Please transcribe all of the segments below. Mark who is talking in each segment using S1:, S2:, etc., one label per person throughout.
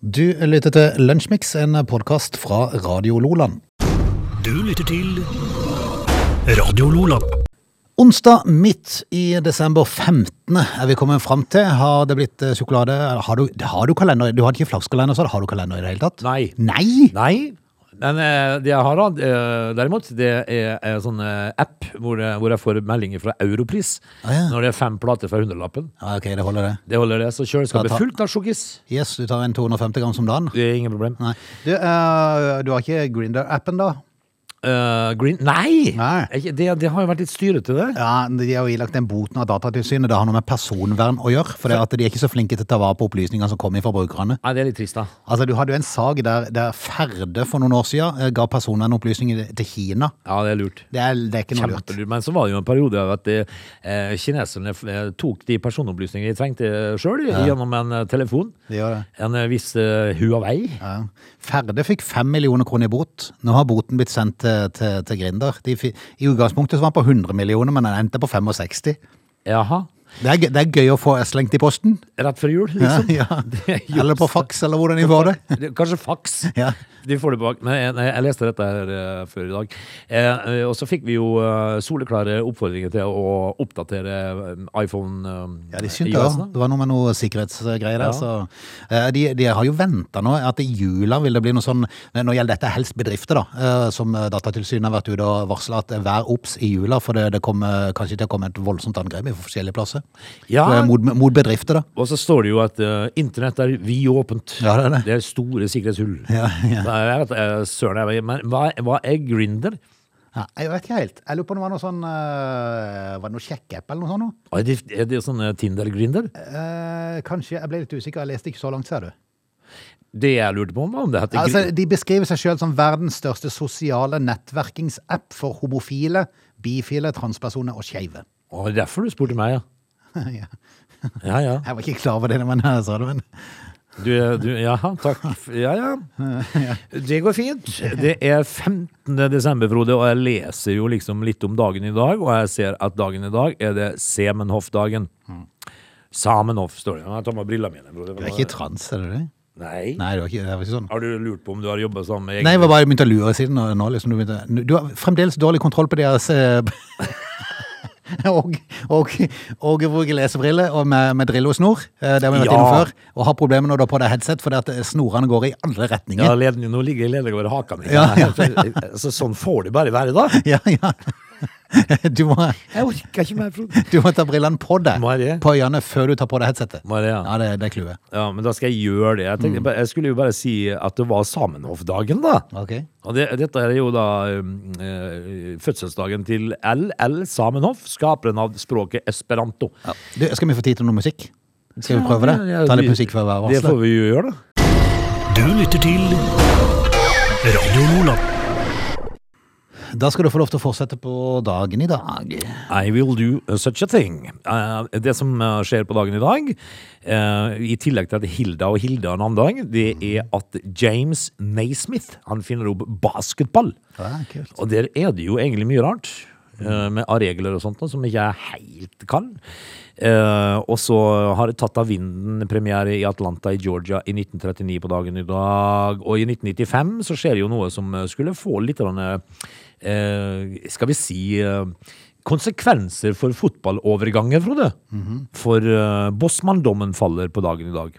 S1: Du lytter til Lunsjmix, en podkast fra Radio Loland.
S2: Du lytter til Radio Lola.
S1: Onsdag midt i desember 15. er vi kommet fram til. Har det blitt eh, sjokolade? Eller Har du, har du kalender? Du hadde ikke flakskalender, så har du kalender i det hele tatt?
S3: Nei.
S1: Nei?
S3: Nei. Men eh, det jeg har da, eh, derimot, det er en sånn eh, app hvor, det- hvor jeg får meldinger fra Europris
S1: Ah, ja.
S3: når det er fem plater fra hundrelappen.
S1: Ja, ok, det holder det.
S3: Det holder det. Så
S1: Ja,
S3: kjøleskapet
S1: ta-
S3: er fullt av sjokkis.
S1: Yes, du tar en 250 gram om dagen.
S3: Det er ingen problem.
S1: Nei. Du, eh, du har ikke Grinder-appen, da?
S3: Eh, green Nei!
S1: Nei.
S3: Er ikke- Det, det har jo vært litt styrete, det.
S1: Ja, De har jo ilagt den boten av Datatilsynet. Det har noe med personvern å gjøre. For det at de er ikke så flinke til å ta vare på opplysninger som kommer fra brukerne.
S3: Nei, det er litt trist, da.
S1: Altså, Du hadde jo en sak der, der Ferde for noen år siden eh, ga personvernopplysninger til Kina.
S3: Ja, det er lurt.
S1: Det er, det er ikke noe lurt.
S3: Kjempelurt. Men så var det jo en periode av at eh, eh, kineserne eh, tok de personopplysningene de trengte sjøl, gjennom en eh, telefon.
S1: Det gjør det.
S3: En eh, viss eh, Huawei.
S1: Ja. Ferde fikk fem millioner kroner i bot. Nå har boten blitt sendt til, til, til Grinder. De, fi- I utgangspunktet så var den på 100 millioner, men den endte på 65. Det
S3: Jaha.
S1: er, gøy- det er gøy å få slengt i posten.
S3: Rett før jul, liksom.
S1: Ja,
S3: Det er jo-
S1: Eller på faks, eller hvordan de får det.
S3: Det- Kanskje faks.
S1: Ja.
S3: De får det bak. Men jeg, nei, jeg leste dette her eh, før i dag. Eh, eh, og så fikk vi jo eh, soleklare oppfordringer til å oppdatere eh, iPhone eh,
S1: Ja, de syntes det
S3: iOS,
S1: også.
S3: da.
S1: Det var noe med noe sikkerhetsgreier der.
S3: Ja.
S1: Så, eh, de, de har jo venta nå at i jula vil det bli noe sånn Nå gjelder dette helst bedrifter, da. eh, Som eh, Datatilsynet har vært ute og varsla at eh, vær obs i jula, for det, det kommer eh, kanskje til å komme et voldsomt angrep i forskjellige plasser.
S3: Ja.
S1: Eh, Mot, mot bedrifter, da.
S3: Og så står det jo at eh, internett er vidåpent.
S1: Ja, det er det.
S3: Det er store sikkerhetshull.
S1: Ja, ja.
S3: Nei, jeg vet, eh, søren, jeg, men hva, hva er Grinder?
S1: Ja, jeg vet ikke helt. Jeg lurer på om det var noe sånn eh, Var det noe sjekkeapp eller noe sånt? nå?
S3: Er det, er det sånn eh, Tinder-grinder?
S1: Eh, kanskje. Jeg ble litt usikker. Jeg leste ikke så langt, ser du.
S3: Det jeg lurte på, var om det heter
S1: Altså,
S3: Grinder.
S1: de beskriver seg sjøl som verdens største sosiale nettverkingsapp for homofile, bifile, transpersoner og skeive.
S3: Å, det er derfor du spurte meg, ja.
S1: Ja.
S3: Ja, ja.
S1: Jeg var ikke klar over det, men jeg sa det. Men.
S3: Du, du, jaha, takk. Ja, ja. Det går fint. Det er 15. desember, Frode, og jeg leser jo liksom litt om dagen i dag, og jeg ser at dagen i dag er det Semenhoff-dagen. Samenhoff, står det. Jeg tar med brillene mine, Frode.
S1: Du er ikke trans, er du det?
S3: Nei.
S1: Nei, du er ikke, det var ikke sånn.
S3: Har du lurt på om du har jobba sammen med
S1: Nei, jeg var bare begynt å lure siden nå. nå liksom, du, begynte, du har fremdeles dårlig kontroll på deres eh, Og, og, og bruker lesebrille og med, med drillosnor. eh, Det har vi vært
S3: Ja.
S1: innom før. Og har problemer når du har på deg headset, fordi at eh, snorene går i alle
S3: Ja,
S1: retninger.
S3: leden, nå ligger ledningen over haka mi.
S1: Ja, ja,
S3: Så sånn får det bare være, da.
S1: Ja, ja. Du må,
S3: Jeg orker ikke mer, Frode.
S1: du må ta brillene på deg
S3: Må jeg det?
S1: på øynene før du tar på deg headsetet.
S3: Må jeg det, ja? Mm.
S1: ja det, det er clouet.
S3: Ja, men da skal jeg gjøre det. Jeg, tenkte, bare- jeg skulle jo bare si at det var Samenhoff-dagen, da.
S1: Ok.
S3: Og det, dette er jo da um, eh, fødselsdagen til LL Samenhoff, skaperen av språket esperanto.
S1: Ja. Du, skal vi få tid til noe musikk? Skal vi prøve det?
S3: Ja, ja,
S1: Ta litt
S3: vi-
S1: musikk før vi
S3: Det
S1: varsler.
S3: får vi jo gjøre, da.
S2: Du lytter til Radio Lola.
S1: Da skal du få lov til å fortsette på dagen i dag.
S3: I will do uh, such a thing. Eh, det som eh, skjer på dagen i dag, eh, i tillegg til at Hilda og Hilda Namdag, det er at James Naismith han finner opp basketball.
S1: Ja, kult.
S3: Og der er det jo egentlig mye rart. eh, Med av regler og sånt, noe som ikke jeg helt kan. Eh, og så har det tatt av vinden premiere i Atlanta i Georgia i 1939 på dagen i dag. Og i 1995 så skjer det jo noe som skulle få litt grann, eh, Skal vi si eh, Konsekvenser for fotballovergangen, Frode. For eh, Bosman-dommen faller på dagen i dag.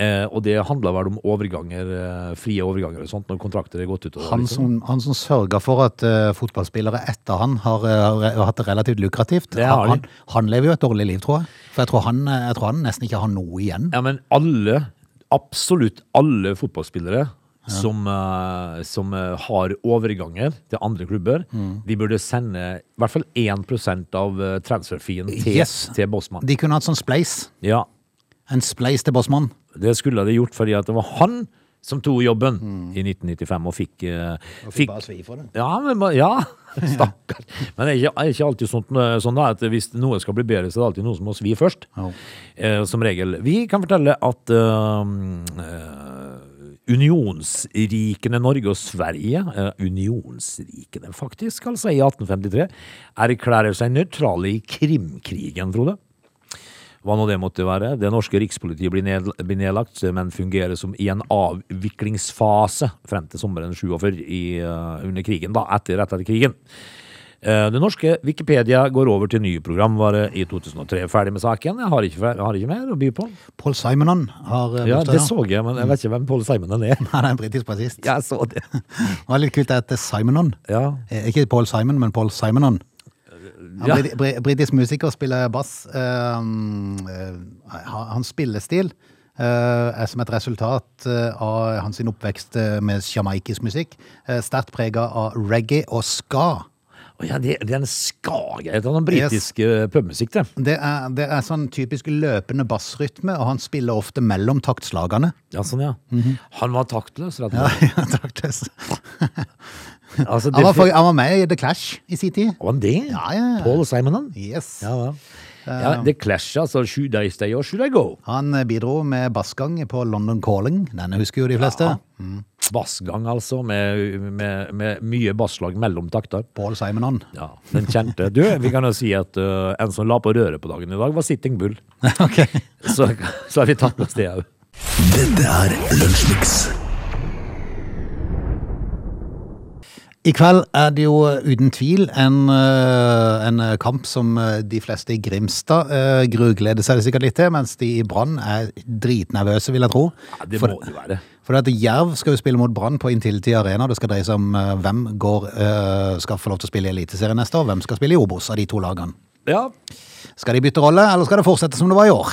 S3: Eh, og det handler vel om overganger, eh, frie overganger og sånt, når kontrakter er gått ut. og
S1: Han
S3: liksom.
S1: som, han som sørga for at eh, fotballspillere etter han har, eh, har, har hatt det relativt lukrativt,
S3: Det har de.
S1: han, han lever jo et dårlig liv, tror jeg. For jeg tror han, eh, jeg tror han nesten ikke har noe igjen.
S3: Ja, men alle, absolutt alle fotballspillere som, eh, som eh, har overganger til andre klubber, de burde sende i hvert fall 1 av eh, transferfien til,
S1: Yes.
S3: til Bosman.
S1: De kunne hatt sånn spleis.
S3: Ja,
S1: En spleis til Bossmann.
S3: det skulle de gjort fordi at det var han som tok jobben i 1995 Mm. og fikk, eh, fikk
S1: svi for det.
S3: ja, men, ma- ja, stakkar. Men det er ikke, er ikke alltid sånt, eh, sånn da, at hvis noe skal bli bedre, så er det alltid noe som må svi først.
S1: Ja.
S3: Eh, som regel. Vi kan fortelle at eh, eh, unionsrikene Norge og Sverige, eh, unionsrikene faktisk, altså i 1853, erklærer seg nøytrale i Krimkrigen, Frode. hva nå det måtte være. Det norske rikspolitiet blir, ned, blir nedlagt, men fungerer som i en avviklingsfase frem til sommeren 47 i, eh, under krigen, da, etter rett etter krigen. Eh, Det norske Wikipedia går over til nye programvare i 2003. Ferdig med saken. Jeg har ikke, fer- jeg har ikke mer å by på.
S1: Paul Simonon har eh,
S3: Ja,
S1: bursdag,
S3: Det
S1: da.
S3: så jeg, men jeg vet ikke hvem Paul Simonen er.
S1: Han er en britisk bassist.
S3: Jeg så det.
S1: Det var litt kult at det er Simonon.
S3: Ja.
S1: Eh, Ikke Paul Simon, men Paul Simonon. Han
S3: Ja.
S1: er briti- bri- Britisk musiker spiller bass. Um, eh, ha- hans spillestil eh, er som et resultat eh, av hans sin oppvekst eh, med jamaikisk musikk. eh, Sterkt prega av reggae og ska.
S3: Å ja, det, det er en skage etter den britiske pubmusikk, det.
S1: Det er, det er sånn typisk løpende bassrytme, og han spiller ofte mellom taktslagene.
S3: Ja, sånn, ja. Han var taktløs, rett og
S1: Ja,
S3: slett.
S1: ja, taktløs.
S3: Altså, det,
S1: Han var, for, han var med i The Clash i sin tid.
S3: var han det?
S1: Ja, ja, ja.
S3: Paul Simonen?
S1: Yes.
S3: Ja, ja. ja det clasher, altså. Should I stay or should I go?
S1: Han eh, bidro med bassgang på London Calling. Denne husker jo de fleste.
S3: Ja. Bassgang, altså, med, med, med mye basslag mellom takter.
S1: Paul Simonon.
S3: Ja, den kjente. Du, vi kan jo si at øh, en som la på røret på dagen i dag, var Sitting Bull.
S1: ok.
S3: Så, så har vi tatt oss det òg.
S2: Dette er Lunsjmix.
S1: I kveld er det jo uten tvil en, eh, en kamp som eh, de fleste i Grimstad eh, grugleder seg sikkert litt til, mens de i Brann er dritnervøse, vil jeg tro.
S3: Ja, det
S1: For-
S3: må det være.
S1: For at Jerv skal jo spille mot Brann på Intility Arena. Det skal dreie seg om eh, hvem går, eh, skal få lov til å spille i Eliteserien neste år, hvem skal spille i Obos av de to lagene.
S3: Ja,
S1: Skal de bytte rolle, eller skal det fortsette som det var i år?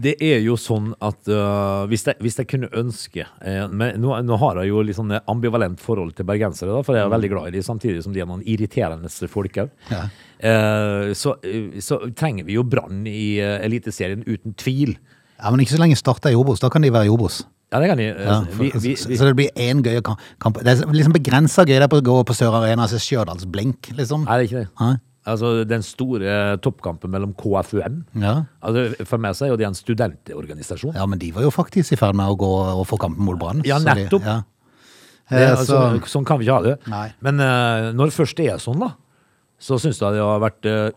S3: Det er jo sånn at øh, hvis, jeg, hvis jeg kunne ønske eh, men nå, nå har jeg jo litt sånn ambivalent forhold til bergensere, da, for jeg er veldig glad i dem, samtidig som de er noen irriterende folk òg.
S1: Ja.
S3: Eh, så, eh, så trenger vi jo Brann i eh, Eliteserien, uten tvil.
S1: Ja, Men ikke så lenge Start er i Obos. Da kan de være i Obos.
S3: Ja, det kan jeg. eh,
S1: Ja, for, altså,
S3: vi, vi,
S1: så,
S3: vi,
S1: så det blir én gøy ka- kamp. Det er liksom begrensa gøy der på å gå på Sør Arena og se Stjørdals-blink, liksom.
S3: Nei, det er ikke det.
S1: Nei.
S3: Altså, den store toppkampen mellom KFUM
S1: Ja.
S3: altså, For meg så er jo det en studentorganisasjon.
S1: ja, men de var jo faktisk i ferd med å gå og få kampen mot Brann.
S3: Ja,
S1: så de-
S3: nettopp.
S1: ja.
S3: Det,
S1: Eh,
S3: altså,
S1: så,
S3: sånn kan vi ikke ha det.
S1: Nei.
S3: Men eh, når det først er sånn, da, så syns jeg det har vært eh,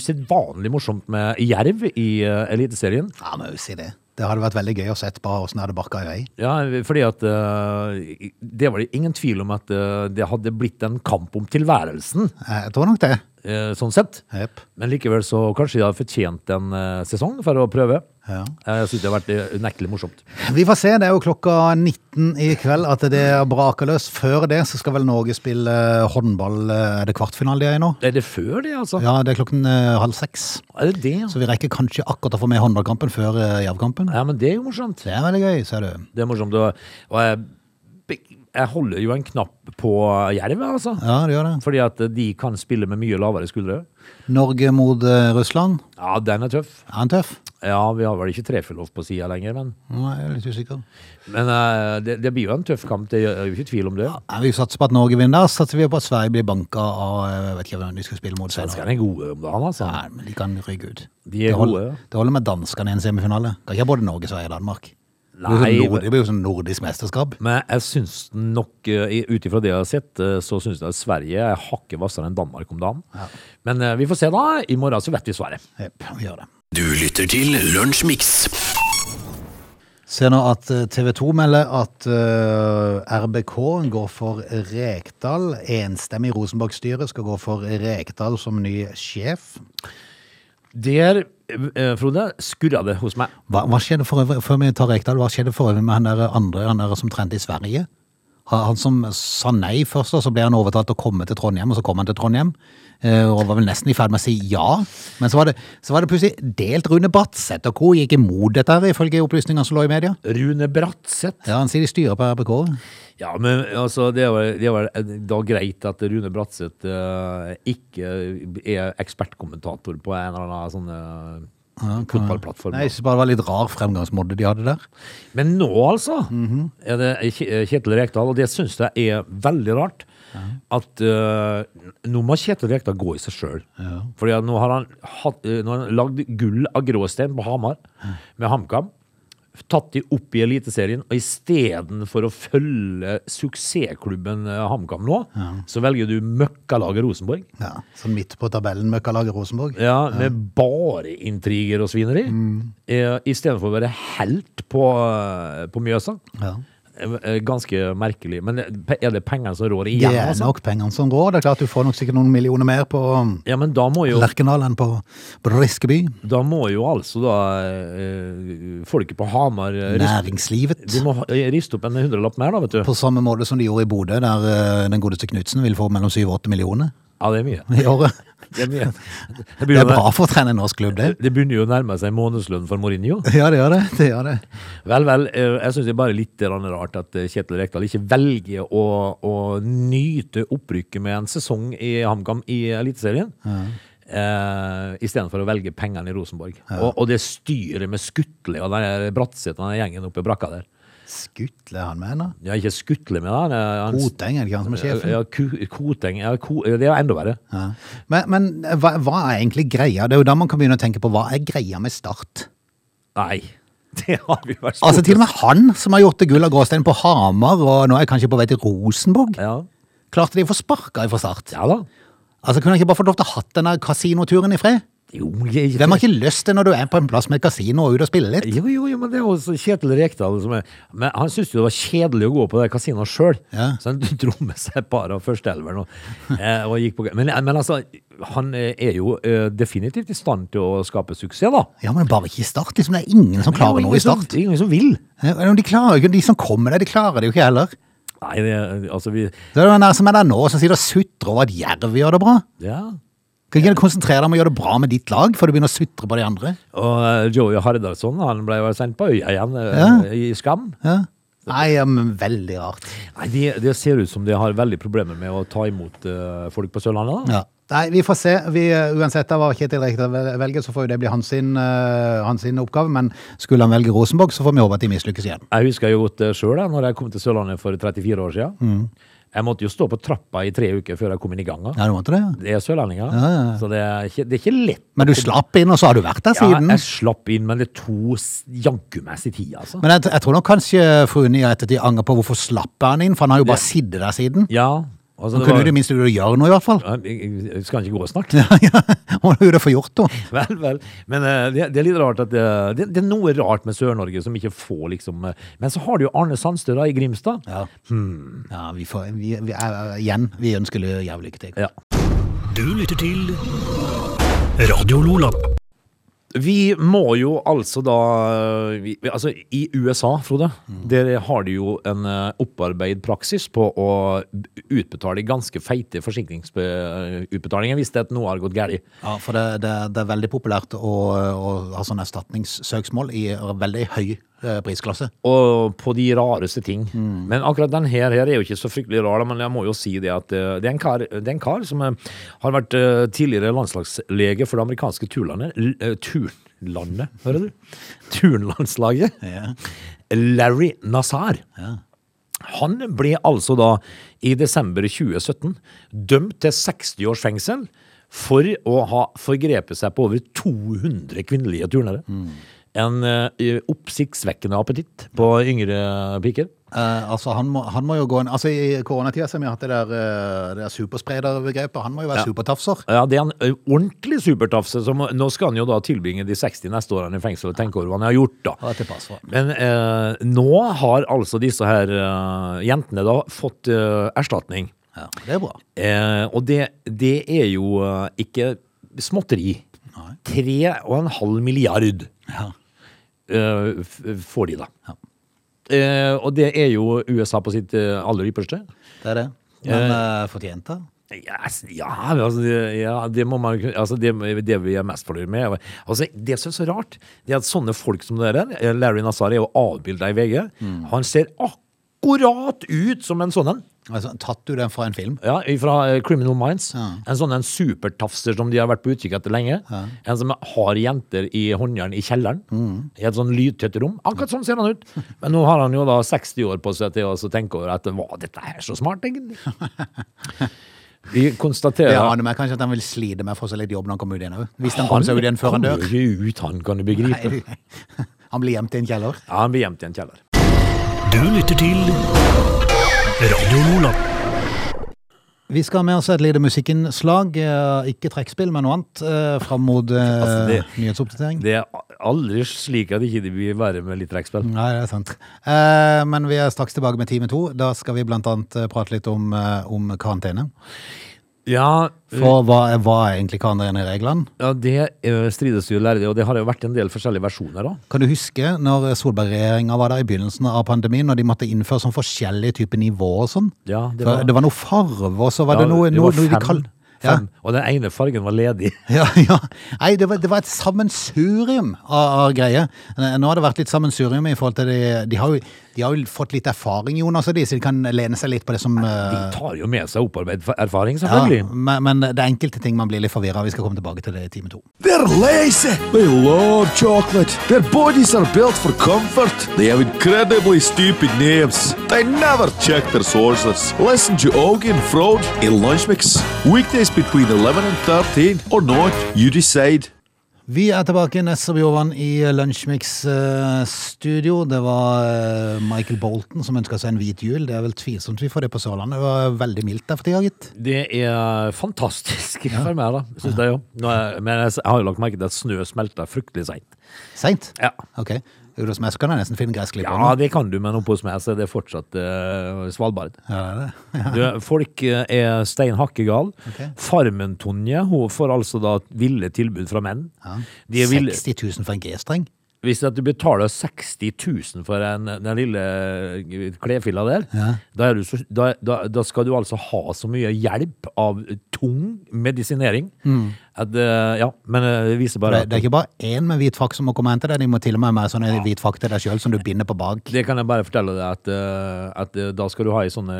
S3: usedvanlig morsomt med Jerv i eh, Eliteserien.
S1: ja, men jo si det. Det hadde vært veldig gøy å se på åssen det hadde barka i vei.
S3: Ja, fordi at eh, Det var det ingen tvil om at eh, det hadde blitt en kamp om tilværelsen,
S1: Eh, Jeg tror nok det.
S3: eh, sånn sett.
S1: Jepp.
S3: Men likevel så kanskje de har fortjent en eh, sesong for å prøve.
S1: Ja.
S3: Eh, Jeg syns det har vært eh, unektelig morsomt.
S1: Vi får se, det er jo klokka 19 i kveld at det er brakeløs. Før det så skal vel Norge spille eh, håndball, eh, er det kvartfinale de er i nå?
S3: Er det før det, altså?
S1: Ja, det er klokken eh, halv seks.
S3: Er det det?
S1: Så vi rekker kanskje akkurat å få med håndballkampen før eh, javkampen.
S3: Ja, men det er jo morsomt.
S1: Det er veldig gøy, ser du.
S3: Det er morsomt. Og, og jeg, be- jeg holder jo en knapp på Jerv, altså.
S1: Ja, det gjør det.
S3: Fordi at de kan spille med mye lavere skuldre.
S1: Norge mot eh, Russland.
S3: Ja, den er tøff.
S1: Er han tøff?
S3: Ja, vi har vel ikke trefilov på sida lenger, men,
S1: Nå er jeg litt usikker.
S3: men eh, det, det blir jo en tøff kamp. Det er jo ikke tvil om det.
S1: Ja, vi satser på at Norge vinner. så Satser vi på at Sverige blir banka av eh, Jeg vet ikke hvem de skal spille mot senere.
S3: Svenskene er gode om dagen, altså.
S1: Nei, men de kan rygge ut.
S3: De er
S1: det,
S3: gode.
S1: holder, det holder med danskene i en semifinale. Kan ikke ha både Norge, Sverige og Danmark. Det blir,
S3: Nei,
S1: jo sånn nord, det blir jo sånn nordisk mesterskap.
S3: Men jeg syns nok, eh, ut ifra det jeg har sett, eh, så syns jeg at Sverige er hakket hvassere enn Danmark om dagen. Men eh, vi får se, da. I morgen så vet vi svaret.
S1: Jepp, vi gjør det.
S2: Du lytter til Lunsjmix.
S1: Ser nå at eh, TV 2 melder at eh, RBK går for Rekdal. Enstemmig Rosenborg-styret skal gå for Rekdal som ny sjef.
S3: Der, eh, Frode, skurra det hos meg.
S1: Hva, hva skjedde for øvrig, før vi tar Rekdal, hva skjedde for øvrig med han der andre, han der som trente i Sverige? Han han som sa nei først, og så ble han overtalt til å komme til Trondheim, og så kom han til Trondheim. eh, Og var vel nesten i ferd med å si ja. Men så var det, så var det plutselig delt Rune Batseth og co. gikk imot dette, her, ifølge opplysninger som lå i media.
S3: Rune Bratseth.
S1: Ja, Han sier de styrer på RBK.
S3: Ja, men altså, det var, det var da greit at Rune Bratseth eh, ikke er ekspertkommentator på en eller annen sånn eh, fotballplattform.
S1: Nei, Jeg synes bare det var litt rar fremgangsmåte de hadde der.
S3: Men nå, altså, er det Kje- eh, Kjetil Rekdal, og det syns jeg er veldig rart. At eh, nå må Kjetil Rekdal gå i seg sjøl. Fordi at nå har han, hatt, eh, nå har han lagd gull av gråstein på Hamar med HamKam. tatt de opp i Eliteserien, og istedenfor å følge suksessklubben eh, HamKam nå, så velger du møkkalaget Rosenborg.
S1: Ja, sånn midt på tabellen møkkalaget Rosenborg.
S3: Ja, med bare intriger og svineri. eh, I stedet for å være helt på, på Mjøsa.
S1: Ja.
S3: Eh, eh, Ganske merkelig. Men eh, er det pengene som rår
S1: Det
S3: igjen?
S1: er
S3: Altså?
S1: nok pengene som rår. Det er klart du får nok sikkert noen millioner mer på
S3: Ja, men da må jo,
S1: Lerkendal enn på Briskeby.
S3: da må jo altså da eh, folket på Hamar eh, riste,
S1: Næringslivet.
S3: De må ha- eh, riste opp en hundrelapp mer, da, vet du.
S1: På samme måte som de gjorde i Bodø, der eh, den godeste Knutsen vil få mellom 7 og 8 millioner
S3: Ja, det er mye.
S1: i året.
S3: Det er, mye. Det
S1: Det er
S3: begynner,
S1: bra for å trene en norsk klubb, det.
S3: det begynner jo å nærme seg månedslønn for Mourinho.
S1: Ja, det gjør det. det, gjør det.
S3: Vel, vel. eh, Jeg syns det er bare litt grann rart at eh, Kjetil Rekdal ikke velger å, å nyte opprykket med en sesong i HamKam i Eliteserien. Eh, Istedenfor å velge pengene i Rosenborg. Og, og det styret med Skutle og den der Bratseth og den gjengen oppe i brakka der.
S1: Skutle han mener.
S3: Ja, ikke Skutle med han, eh, han
S1: Koteng, er det ikke han som er sjefen?
S3: Ja, Ku- Koteng. Ja, Ko, det er jo enda verre.
S1: Ja. Men, men hva, hva er egentlig greia? Det er jo da man kan begynne å tenke på hva er greia med Start?
S3: Nei. Det har vi vært
S1: Altså Til og med han som har gjort det gull av gråstein på Hamar, og nå er jeg kanskje på vei til Rosenborg.
S3: ja.
S1: Klarte de å få sparka fra Start?
S3: ja da.
S1: Altså Kunne han ikke bare fått lov til å hatt denne kasinoturen i fred?
S3: Jo, jeg,
S1: Hvem har ikke lyst til når du er på en plass med et kasino og ut og spille litt?
S3: Jo, jo, jo, men det er jo også Kjetil Rekdal som er Men han syntes jo det var kjedelig å gå på det kasinoet sjøl,
S1: Ja.
S3: så han dro med seg et par av førsteelveren og, eh, og gikk på men, men altså, han eh, er jo eh, definitivt i stand til å skape suksess, da.
S1: Ja, men bare ikke i Start. liksom Det er ingen som klarer
S3: Det er
S1: noe i
S3: sånn- jo ingen som-
S1: Start.
S3: det er Ingen som vil.
S1: Ja, men De klarer jo ikke, de som kommer der, de klarer det jo ikke heller.
S3: Nei, det, altså vi
S1: Så er det den der som er der nå, som sitter og sutrer over at Jerv gjør det bra.
S3: Ja.
S1: Kan ikke du konsentrere deg om å gjøre det bra med ditt lag, før du begynner å sutre på de andre?
S3: Og eh, Joey Hardarson, han ble jo sendt på øya igjen, eh, i Skam.
S1: Ja. Nei, ja, men veldig rart.
S3: Nei, Det de ser ut som de har veldig problemer med å ta imot eh, folk på Sørlandet, da.
S1: Ja. Nei, vi får se. Vi, eh, uansett hva Kjetil Rekdal vel- velger, så får jo det bli hans, sin, eh, hans sin oppgave. Men skulle han velge Rosenborg, så får vi håpe at de mislykkes igjen.
S3: Jeg husker jo godt det sjøl, når jeg kom til Sørlandet for 34 år siden. Jeg måtte jo stå på trappa i tre uker før jeg kom inn i ganga.
S1: Mm. Ja, du måtte det, ja.
S3: Det er sørlendinger, så det er, ikke, det er ikke lett.
S1: Men du slapp inn, og så har du vært der
S3: Ja,
S1: siden.
S3: jeg slapp inn, men det tok s- jaggu meg sin tid, altså.
S1: Men jeg, jeg tror nok kanskje fruen i ettertid angrer på hvorfor slapp han inn, for han har jo bare sittet der siden.
S3: Ja, altså
S1: Men
S3: det
S1: kunne
S3: var,
S1: du i det minste gjøre noe, i hvert fall?
S3: Ja, jeg- jeg Skal han ikke gå snart?
S1: Ja, Må du jo få gjort noe.
S3: Vel, vel. Men eh, det, det er litt rart at det, det, det er noe rart med Sør-Norge som ikke får liksom eh, Men så har du jo Arne Sandstø da i Grimstad.
S1: Ja, Hmm. ja vi får, vi, vi, er- igjen, vi ønsker Lø jævlig lykke til.
S3: Ja.
S2: Du lytter til Radio Lola.
S3: Vi må jo altså da vi, vi- Altså, i USA, Frode, der har de jo en eh, opparbeid praksis på å utbetale ganske feite forsikringsutbetalinger hvis det at noe har gått galt.
S1: Ja, for det, det, det er veldig populært å, å ha sånne erstatningssøksmål i veldig høy eh, prisklasse.
S3: Og på de rareste ting. Men akkurat den her, her er jo ikke så fryktelig rar, da, men jeg må jo si det at eh, det er en kar, det er en kar som eh, har vært eh, tidligere landslagslege for det amerikanske turlandet l- eh, Turnlandet, hører du? Turnlandslaget.
S1: Ja.
S3: Larry Nassar. Han ble altså da i desember 2017 dømt til 60 års fengsel for å ha forgrepet seg på over 200 kvinnelige turnere. En eh, oppsiktsvekkende appetitt på yngre piker.
S1: Eh, altså, han må, han må jo gå en, altså, I koronatida så har vi hatt det der, eh, det der superspreder-begrepet. Han må jo være supertafser.
S3: Ja, det er en ø, ordentlig supertafse. Som, nå skal han jo da tilbringe de 60 neste årene i fengsel og tenke over hva han har gjort, da.
S1: Ja, til pass for.
S3: Men eh, nå har altså disse her eh, jentene da fått eh, erstatning.
S1: Ja, det er bra.
S3: Eh, og det, det er jo eh, ikke småtteri. Tre og en halv milliard
S1: Ja.
S3: eh, f- får de, da.
S1: Ja.
S3: Eh, og det er jo USA på sitt eh, aller ypperste.
S1: Det er det. Men eh, fortjent, da?
S3: Ja, s- ja, altså, det- ja, det må man kunne- altså, det, det vi er mest fornøyd med. Altså, det som er så rart, det er at sånne folk som dere, eh, Larry Nassar er jo avbilda i VG. Han ser akkurat ut som en sånn en.
S1: Altså, tatt du den fra en film?
S3: Ja, fra eh, Criminal Minds.
S1: Ja.
S3: En sånn en supertafser som de har vært på utkikk etter lenge. En som har jenter i håndjern i kjelleren.
S1: Mm.
S3: I et sånn lydtett rom. Akkurat sånn ser han ut. Men nå har han jo da 60 år på seg til å så tenke over at hva, dette er så smart, egentlig. Vi
S1: Det
S3: konstaterer
S1: aner meg kanskje at han vil slite med å få seg litt jobb når han kommer ut igjen òg. Hvis han kommer seg ut igjen før han
S3: kommer
S1: dør.
S3: jo ikke ut, han kan du begripe.
S1: Nei, Han blir gjemt i en kjeller.
S3: Ja, han blir gjemt i en kjeller.
S2: Du lytter til Radio Lola.
S1: Vi skal ha med oss et lite musikkinnslag. eh, Ikke trekkspill, men noe annet. eh, Fram mot eh,
S3: Altså, det-
S1: nyhetsoppdatering.
S3: Det er aldri slik at ikke de vil være med litt trekkspill.
S1: Nei, det er sant. Eh, men vi er straks tilbake med Time to. Da skal vi blant annet eh, prate litt om, eh, om karantene.
S3: Ja,
S1: For hva er, hva er egentlig karantenereglene?
S3: ja, det eh, strides jo lærere, og det har jo vært en del forskjellige versjoner da.
S1: Kan du huske når Solberg-regjeringa var der i begynnelsen av pandemien, når de måtte innføre sånn forskjellige typer nivåer og sånn?
S3: Ja, det
S1: det, var...
S3: var-
S1: det var noe farve, og så var
S3: Ja,
S1: det noe, noe,
S3: var
S1: noe de
S3: fem-
S1: kall... Ja,
S3: fem, Og den ene fargen var ledig.
S1: ja, ja. Nei, det var, det var et sammensurium av, av greier. Nå har det vært litt sammensurium i forhold til de De har jo, de har jo fått litt erfaring, Jonas, og de, så de kan lene seg litt på det som
S3: De
S1: eh,
S3: tar jo med seg opparbeidet fa- erfaring,
S1: ja,
S3: selvfølgelig.
S1: men, men det er enkelte ting man blir litt forvirra av. Vi skal komme tilbake til det i time to.
S4: They're lazy. They love chocolate. Their bodies are built for comfort. They have incredibly stupid names. They never check their sources. Listen to Augie and Frode in Lunch Mix. Weekdays between 11 and 13 or not, you decide.
S1: Vi er tilbake Ness og Bjørvann i Lunsjmix eh, studio. Det var eh, Michael Bolton som ønska seg en hvit jul. Det er vel tvilsomt vi får det på Sørlandet. Det var veldig mildt der for tida, gitt.
S3: Det er fantastisk for meg, da. Synes jeg jo. Nå er, men jeg s- jeg har jo lagt merke til at snø smelter fryktelig seint.
S1: Seint?
S3: Ja.
S1: Ok. Jo, hos meg så kan jeg nesten finne
S3: ja,
S1: gressklipperen.
S3: det kan du, men oppe hos meg så er det fortsatt eh, Svalbard.
S1: Ja, det er det.
S3: Du, folk eh, er stein hakke gal.
S1: Ok.
S3: Farmen Tonje hun får altså da ville tilbud fra menn. De er ville,
S1: 60 000 for en G-streng?
S3: hvis at du betaler 60 000 for en, den lille klefilla der, da, er du så, da, da, da skal du altså ha så mye hjelp av tung medisinering. At, eh, ja, men eh, det viser bare
S1: Mm. Det,
S3: at
S1: det er ikke bare én med hvit frakk som må komme og hente deg, de må til og med ha med sånn en hvit frakk til deg sjøl som du binder på bak.
S3: Det kan jeg bare fortelle deg, at, eh, at eh, da skal du ha ei sånne,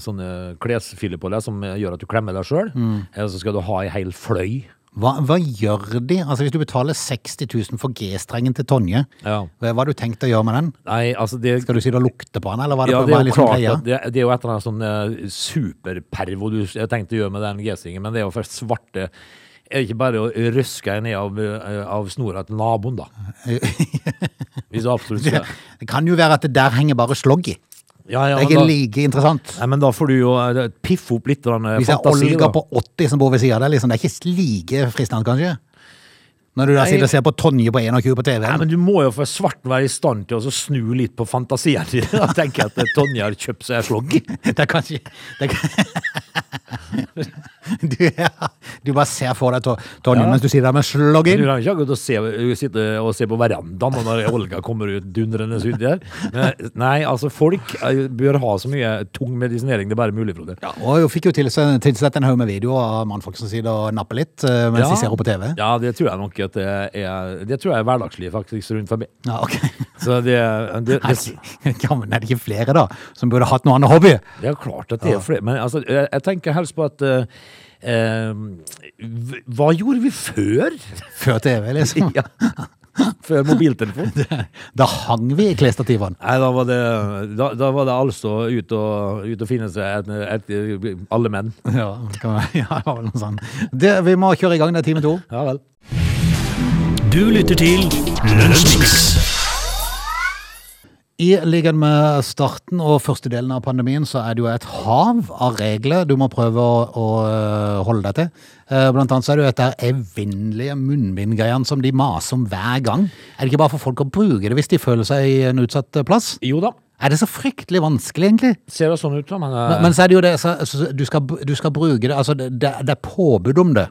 S3: sånne klesfille på deg som eh, gjør at du klemmer deg sjøl.
S1: Mm.
S3: Eller så skal du ha ei hel fløy.
S1: Hva, hva gjør de? Altså Hvis du betaler 60 000 for G-strengen til Tonje,
S3: Ja.
S1: hva hva har du tenkt å gjøre med den?
S3: Nei, altså det,
S1: Skal du si det og lukte på den, eller hva er det,
S3: ja,
S1: hva
S3: det er jo
S1: liksom
S3: klart
S1: greia?
S3: at det, det er jo et eller annet sånn eh, superpervo du s- jeg tenkte å gjøre med den G-stringen, men det er jo for svarte er det ikke bare å røske ned av, eh, av snora til naboen, da? Hvis du absolutt skal.
S1: Det kan jo være at det der henger bare slogg i.
S3: Ja, ja,
S1: Det er
S3: men
S1: ikke
S3: da,
S1: like interessant.
S3: nei, men da får du jo eh, piffe opp litt grann, eh,
S1: Hvis det er
S3: fantasi.
S1: Olga
S3: da.
S1: på 80 som bor ved siden av deg, liksom, det er ikke like fristende, kanskje? Når du da
S3: Nei.
S1: sitter og ser på Tonje på 21 på
S3: Nei,
S1: TV-en.
S3: men Du må jo for svarten være i stand til å så snu litt på fantasien din. Da tenker jeg at eh, Tonje har kjøpt seg en slogg.
S1: Det er kanskje det er... du, ja, du bare ser for deg To- Tonje mens du sitter der med
S3: Du
S1: sloggen.
S3: kan ikke akkurat å se, eh, sitte og se på verandaen og når Olga kommer ut dundrende ut der. Men, nei, altså folk eh, bør ha så mye tung medisinering det er bare mulig, Frode. Ja.
S1: Og hun fikk jo tilsett tilsett en haug med videoer av mannfolk som sitter og napper litt eh, mens de ser henne på TV.
S3: Ja, det tror jeg nok at det er Det tror jeg er hverdagslig, faktisk, rundt forbi.
S1: Ja, ok.
S3: Så det, det,
S1: Er
S3: det,
S1: det, ja, men er det ikke flere, da, som burde hatt noe annet hobby?
S3: det er klart at det er flere Men altså, jeg, jeg tenker helst på at eh, eh, v- Hva gjorde vi før?
S1: Før TV, liksom.
S3: Ja. Før mobiltelefon?
S1: Da hang vi i klesstativene.
S3: Nei, da var det, da, da var det altså ut og, ut og finne seg et, et, alle menn.
S1: Ja, det kan være- ja, det var vel noe sånn. sånt. Det, vi må kjøre i gang, det er time to.
S3: Ja vel.
S2: Du lytter til Lunsjmix.
S1: I likhet med starten og første delen av pandemien, så er det jo et hav av regler du må prøve å, å øh, holde deg til. Eh, Blant annet så er det jo dette evinnelige munnbindgreiene som de maser om hver gang. Er det ikke bare for folk å bruke det hvis de føler seg i en utsatt eh, plass?
S3: Jo da,
S1: Er det så fryktelig vanskelig, egentlig?
S3: ser det sånn ut, da. Men, eh,
S1: Men, men så er det jo det, så, så, du, skal, br- du skal bruke det, altså det, det det er påbud om det,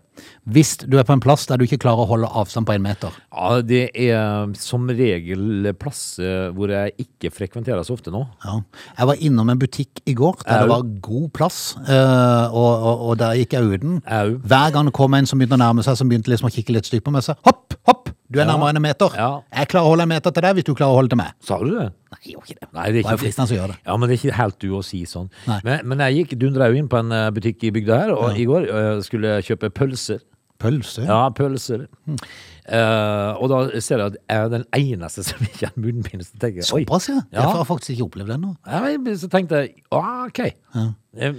S1: hvis du er på en plass der du ikke klarer å holde avstand på en meter.
S3: ja, det er som regel plasser hvor jeg ikke frekventerer så ofte nå.
S1: Ja. Jeg var innom en butikk i går der
S3: Au.
S1: det var god plass, eh, og, og, og der gikk jeg uten.
S3: Au.
S1: Hver gang det kom en som begynte å nærme seg, som begynte liksom å kikke litt stygt på meg, så hopp, hopp, du er nærmere enn en meter.
S3: Ja.
S1: Jeg klarer å holde en meter til deg hvis du klarer å holde til meg.
S3: Sa du det?
S1: Nei, jeg gjorde ikke det.
S3: Nei, det
S1: Det var jo fristende å gjøre det.
S3: Ja, men det er ikke helt du å si sånn.
S1: Nei.
S3: Men, men jeg gikk dundra jo inn på en eh, butikk i bygda her og i går eh, skulle kjøpe pølser.
S1: Pølse?
S3: Ja, pølser.
S1: Hm.
S3: Eh, og da ser jeg at jeg er den eneste som ikke har munnbind. Så tenker jeg, oi.
S1: Såpass, ja. Det
S3: Ja.
S1: har jeg faktisk ikke opplevd ennå.
S3: Ja, men Så tenkte jeg ah, OK. Eh,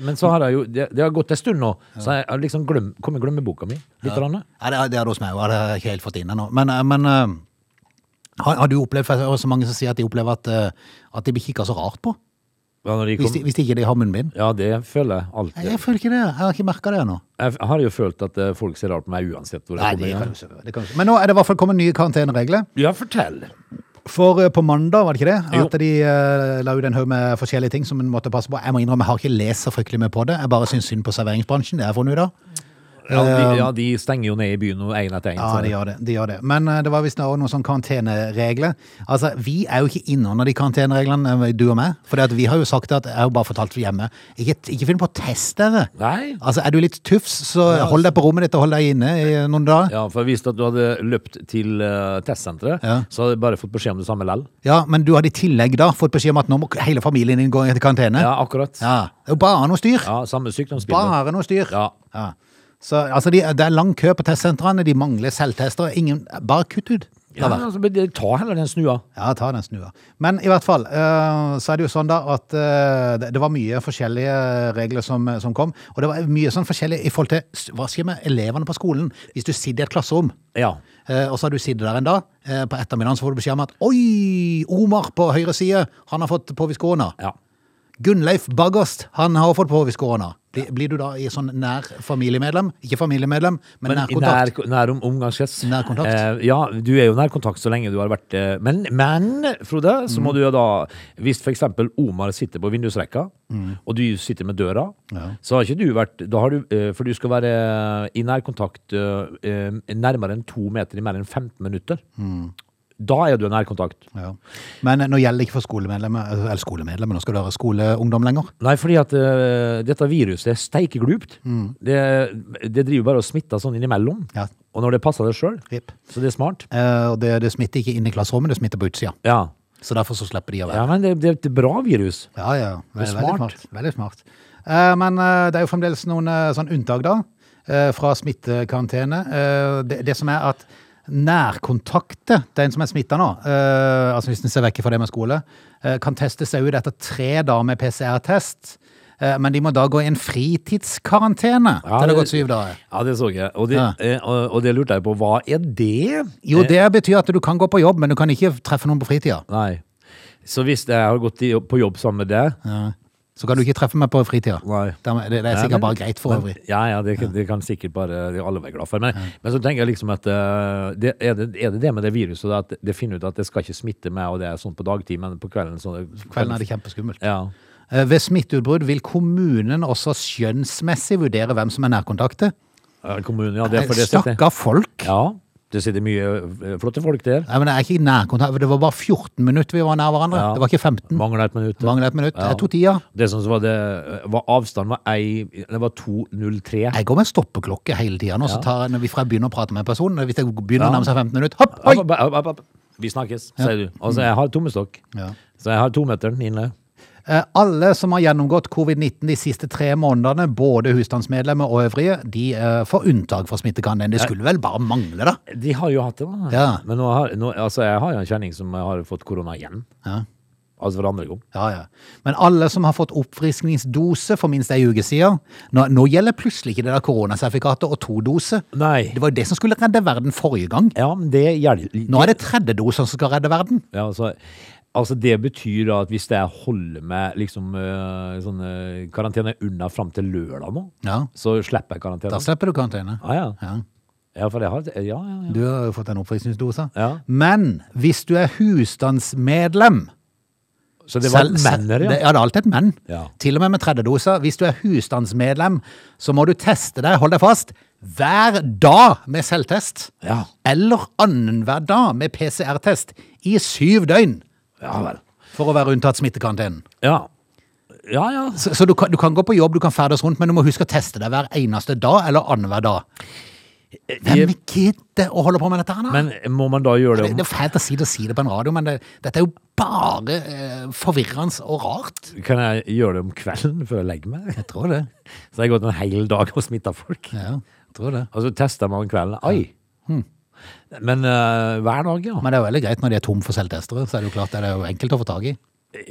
S3: Men så har jeg jo Det, det har gått en stund nå, så jeg har liksom glem, kom i glemmeboka mi. Litt. grann.
S1: Ja, det, er- det er det hos meg òg, det har jeg ikke helt fått inn ennå. Men, eh, men eh, Har, har du opplevd, for det er også mange som sier at de opplever at, eh, at de blir kikka så rart på,
S3: Ja, når de
S1: hvis,
S3: kom,
S1: de, hvis de ikke de har munnbind?
S3: ja, det føler jeg
S1: Nei,
S3: alltid.
S1: Jeg føler ikke det. Jeg har ikke merka det ennå.
S3: Jeg har jo følt at eh, folk ser rart på meg uansett hvor jeg
S1: Nei, det
S3: kommer.
S1: kan
S3: igjen.
S1: jo ikke- det kan jo ikke- Men nå er det i hvert fall kommet nye karanteneregler.
S3: Ja, fortell.
S1: For eh, på mandag, var det ikke det?
S3: Jo.
S1: At de eh, la ut en haug med forskjellige ting som en måtte passe på. Jeg må innrømme, jeg har ikke lest så fryktelig mye på det. Jeg bare syns synd på serveringsbransjen. Det har jeg funnet ut av.
S3: Ja, de, ja, de stenger jo ned i byen og en etter en.
S1: Um, Ja,
S3: så-
S1: de gjør det. De gjør det. Men eh, det var visst også noen sånne karanteneregler. Altså, vi er jo ikke innunder de karantenereglene, eh, du og meg. For vi har jo sagt at Jeg har jo bare fortalt hjemme. Ikke, ikke finn på å teste dere.
S3: Nei.
S1: Altså, er du litt tufs, så hold deg på rommet ditt og hold deg inne i noen dager. altså Ja.
S3: Ja, for Hvis at du hadde løpt til eh, testsenteret,
S1: Ja.
S3: så hadde jeg bare fått beskjed om det samme lell.
S1: men du hadde i tillegg da fått beskjed om at nå må hele familien din gå i karantene. Ja.
S3: Ja, akkurat. Ja,
S1: Det er jo bare noe styr.
S3: Samme sykdomsbilde.
S1: Bare noe styr.
S3: Ja.
S1: Ja. Så altså, de, det er lang kø på testsentrene, de mangler selvtester. Ingen, bare kutt ut.
S3: Ja,
S1: La være.
S3: altså, men det- ta heller den snua.
S1: Ja, ta den snua. Men i hvert fall, eh, så er det jo sånn da at eh, det- det var mye forskjellige regler som, som kom, og det var mye sånn forskjellig i forhold til, s- hva skjer med eleverne på skolen? Hvis du sitter i et klasserom,
S3: Ja.
S1: eh, og så har du sittet der en dag, eh, på ettermiddagen så får du beskjed om at Oi, Omar på høyre side, han har fått påvist korona.
S3: ja.
S1: Gunnleif Baggerst, han har fått påvist korona. Blir, blir du da i sånn nær familiemedlem? Ikke familiemedlem, men,
S3: Men i nær,
S1: nærkontakt.
S3: nær om, omgangskrets.
S1: Nærkontakt.
S3: Eh, ja, du er jo nærkontakt så lenge du har vært eh, Men, men Frode, så
S1: Mm.
S3: må du jo da Hvis for eksempel Omar sitter på vindusrekka,
S1: Mm.
S3: og du sitter med døra, så har ikke du vært da har du, eh, For du skal være i nærkontakt eh, eh, nærmere enn to meter i mer enn 15 minutter.
S1: Mm.
S3: Da er du i nærkontakt.
S1: Ja. Men eh, nå gjelder det ikke for skolemedlemmer, eh, eller skolemedlemmer, nå skal du være skoleungdom lenger.
S3: Nei, fordi at eh, dette viruset er steikeglupt. Det, det driver bare og smitter sånn innimellom.
S1: Mm. Ja.
S3: Og når det passer deg sjøl.
S1: Jepp.
S3: Så det er smart.
S1: Eh, Og det, det smitter ikke inn i klasserommet, det smitter på utsida.
S3: Ja.
S1: Så derfor så slipper de å være.
S3: Ja, men det, det er et bra virus.
S1: Ja, ja.
S3: Det er
S1: Veldig
S3: smart.
S1: smart. Veldig smart. Eh, Men eh, det er jo fremdeles noen eh, sånn unntak, da. eh, Fra smittekarantene. Eh, Det, det som er at nærkontakter, den som er smitta nå, eh, altså hvis den ser vekk fra det med skole, eh, kan teste seg ut etter tre dager med PCR-test. Eh, Men de må da gå i en fritidskarantene
S3: Ja,
S1: til det
S3: det-
S1: har gått syv dager.
S3: Ja, det så jeg. Og det,
S1: Ja.
S3: eh, og, og det lurte jeg på, hva er det?
S1: Jo, det betyr at du kan gå på jobb, men du kan ikke treffe noen på fritida.
S3: Nei. Så hvis jeg har gått i, jobb- på jobb sammen med deg
S1: Ja. Så kan du ikke treffe meg på fritida.
S3: Nei.
S1: Dermed- Det, det er
S3: Nei,
S1: sikkert
S3: men-
S1: bare greit for øvrig.
S3: Ja, ja, det, kan- det kan sikkert bare det er alle være glad for. Men, men så tenker jeg liksom at eh, det, er, det, er det det med det viruset da, at det finner ut at det skal ikke smitte meg, og det er sånn på dagtid, men på kvelden så
S1: Kvelden er det kjempeskummelt.
S3: Ja.
S1: Eh, Ved smitteutbrudd vil kommunen også skjønnsmessig vurdere hvem som er nærkontakter.
S3: Ja, Kommunen, ja. Det er for det sitter.
S1: Stakka folk!
S3: Ja. Det sitter mye eh, flotte folk der.
S1: Nei, men det er ikke nærkontakt. Det var bare 14 minutter vi var nær hverandre.
S3: Ja.
S1: Det var ikke 15.
S3: Mangler et minutt.
S1: Mangler et minutt.
S3: Ja.
S1: Jeg tok tida.
S3: Det sånn som var det, var avstanden var, ei- det var 2,03.
S1: Jeg går med stoppeklokke hele tida nå, så tar jeg, når vi fra jeg begynner å prate med en person. Hvis jeg begynner
S3: Ja.
S1: å nærme seg 15 minutter, hopp!
S3: Oi!
S1: Oi!
S3: Vi snakkes, sier du. Altså, jeg har tommestokk.
S1: Ja.
S3: Så jeg har tometeren inne.
S1: Eh, Alle som har gjennomgått covid-19 de siste tre månedene, både husstandsmedlemmer og øvrige, de eh, får unntak fra smittekarantene. Det skulle vel bare mangle, da?
S3: De har jo hatt det, da.
S1: Ja.
S3: Men nå har, nå, altså, jeg har jo en kjenning som har fått korona igjen.
S1: Ja.
S3: Altså for andre gang.
S1: Ja, ja. Men alle som har fått oppfriskningsdose for minst ei uke siden Nå, nå gjelder plutselig ikke det der koronasertifikatet og to doser.
S3: Nei.
S1: Det var jo det som skulle redde verden forrige gang.
S3: Ja, men det gjelder
S1: Nå er det tredje dose som skal redde verden.
S3: ja, altså, altså, det betyr da at hvis jeg holder meg liksom øh, sånn øh, karantene unna fram til lørdag nå,
S1: Ja,
S3: så slipper jeg karantene.
S1: da slipper du karantene.
S3: Ah, ja.
S1: Ja.
S3: ja, for jeg har Ja, ja, ja.
S1: Du har jo fått en oppfriskningsdose.
S3: Ja.
S1: Men hvis du er husstandsmedlem
S3: Så det var
S1: Selv- se-
S3: menner,
S1: det-
S3: ja.
S1: Ja, det er alltid et menn.
S3: Ja.
S1: Til og med med tredje dose. Hvis du er husstandsmedlem, så må du teste deg, hold deg fast, hver dag med selvtest.
S3: Ja.
S1: Eller annenhver dag med PCR-test i syv døgn
S3: Ja vel.
S1: for å være unntatt smittekarantenen.
S3: Ja. Ja, ja.
S1: Så, så du, kan, du kan gå på jobb, du kan ferdes rundt, men du må huske å teste deg hver eneste dag eller annenhver dag. Hvem gidder å holde på med dette her, da?
S3: Men må man da gjøre
S1: det,
S3: det om
S1: det er fælt å si det, å si det på en radio, men det, dette er jo bare eh, forvirrende og rart.
S3: Kan jeg gjøre det om kvelden før jeg legger meg?
S1: Jeg tror det.
S3: Så jeg har gått en hel dag og smitta folk.
S1: Ja, jeg tror det.
S3: Og så tester man om kvelden. Oi! Men øh, hver dag, ja.
S1: Men det er jo veldig greit når de er tom for selvtestere, så er det jo klart det er jo enkelt å få tak i.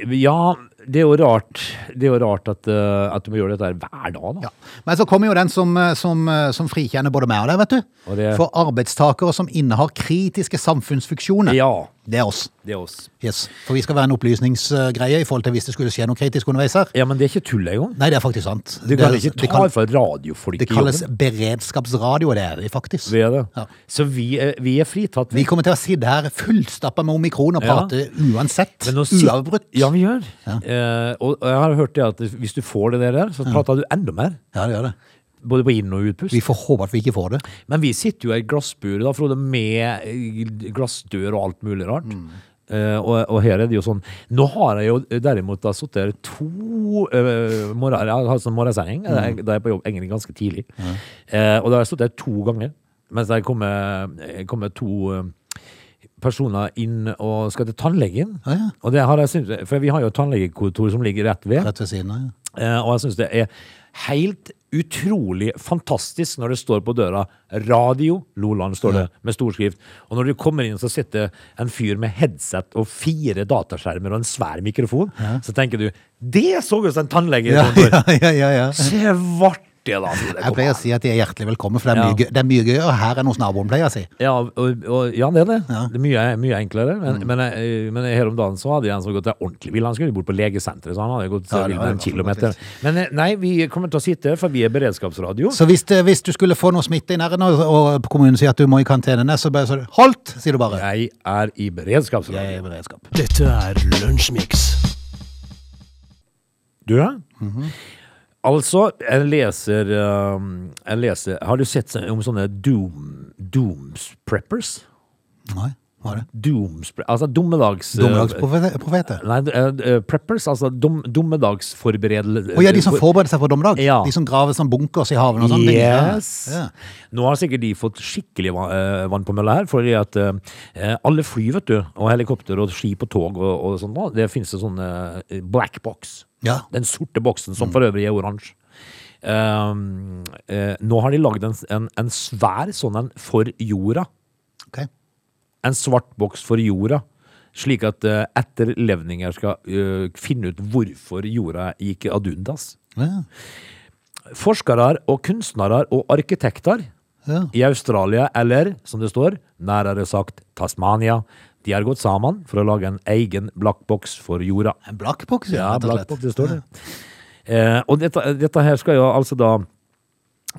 S3: Ja, det er jo rart, det er jo rart at, øh, at du må gjøre dette her hver dag, da.
S1: Ja. Men så kommer jo den som, eh, som, eh, som frikjenner både meg og deg, vet du.
S3: Og det-
S1: For arbeidstakere som innehar kritiske samfunnsfunksjoner.
S3: Ja.
S1: Det er oss.
S3: Det er oss.
S1: Yes. For vi skal være en opplysningsgreie i forhold til hvis det skulle skje noe kritisk underveis her.
S3: Ja, men det er ikke tull engang.
S1: Nei, det er faktisk sant.
S3: Du kan
S1: det,
S3: ikke
S1: det
S3: ta
S1: kall-
S3: fra radiofolk
S1: det
S3: i
S1: kalles
S3: jobben.
S1: beredskapsradio, det er det faktisk.
S3: Vi er det.
S1: Ja.
S3: Så vi er, vi er fritatt.
S1: Vi kommer til å sitte her fullstappa med omikron og
S3: Ja.
S1: prate uansett.
S3: Men nå si-
S1: Uavbrutt.
S3: Ja, vi gjør. Eh, og og jeg har hørt det at hvis du får det der, så prater du enda mer.
S1: Ja, det gjør det.
S3: Både på inn- og utpust.
S1: Vi får håpe at vi ikke får det.
S3: Men vi sitter jo i glassbur da, Frode, med eh, glassdør og alt mulig rart.
S1: Mm.
S3: Eh, og, og her er det jo sånn Nå har jeg jo derimot da sittet her to uh, morgener Jeg har sånn morgensending
S1: Mm.
S3: eh, da jeg er på jobb egentlig ganske tidlig. Eh, og da har jeg sittet her to ganger mens det kommer, kommer to eh, personer inn og skal til tannlegen.
S1: Ja, ja.
S3: Og det har jeg syntes, for vi har jo et tannlegekontor som ligger rett ved.
S1: Rett ved siden av. ja.
S3: Eh, Og jeg syns det er helt utrolig fantastisk når det står på døra 'Radio Loland', står det med stor skrift. Og når du kommer inn, så sitter en fyr med headset og fire dataskjermer og en svær mikrofon. Så tenker du 'Det så ut som en tannlege!'
S1: Ja,
S3: i kontor.
S1: ja, ja, ja.
S3: Se varte, da! Frode,
S1: Jeg
S3: kom
S1: pleier
S3: her.
S1: å si at de er hjertelig velkommen, for det er
S3: Ja.
S1: mye, gøy- det er mye gøyere her enn hos naboen, pleier jeg å si.
S3: Ja, og, og, ja, det er det.
S1: Ja. Mm.
S3: Det er mye, mye enklere. Men, men, eh, men her om dagen så hadde jeg en som gått der ordentlig vill. Han skulle bort på legesenteret, så han hadde gått
S1: Ja, det
S3: ja, vill
S1: var-
S3: med en kilometer. Men eh, nei, vi kommer til å sitte her, for vi er beredskapsradio.
S1: Så hvis, det, hvis du skulle få noe smitte i nærheten, og, og kommunen sier at du må i karantene, så bare så, Holdt, sier du bare.
S3: Jeg er i beredskapsradio.
S1: Jeg er i beredskap.
S2: Dette er Lunsjmix.
S3: Du, ja?
S1: Mhm.
S3: Altså, jeg leser, um, jeg leser Har du sett så- om sånne doom, dooms preppers?
S1: Nei, hva er det?
S3: Dooms, pre- altså dummedags...
S1: Dommedagsprofeter?
S3: Nei, eh, eh, preppers, altså eh, dum, dummedagsforberedelse...
S1: Å ja, de som forbereder seg for dommedag?
S3: Ja.
S1: De som graver sånn bunkers i haven og sånn?
S3: Yes!
S1: Ja.
S3: Nå har sikkert de fått skikkelig va- eh, vann på mølla her, fordi at eh, alle fly, vet du, og helikopter og skip og tog og, og sånt, nå, det finnes en sånn eh, black box.
S1: Ja.
S3: Den sorte boksen, som for øvrig er oransje. Um, eh, nå har de lagd en, en, en svær sånn en for jorda.
S1: Ok.
S3: En svart boks for jorda. Slik at eh, etterlevninger skal eh, finne ut hvorfor jorda gikk ad undas.
S1: Ja.
S3: Forskere og kunstnere og arkitekter
S1: Ja.
S3: i Australia, eller som det står, nærere sagt Tasmania, de har gått sammen for å lage en egen blakkboks for jorda.
S1: En blakkboks, ja.
S3: Ja,
S1: rett og slett.
S3: blakkboks, det står det. Eh, og dette, dette her skal jo altså da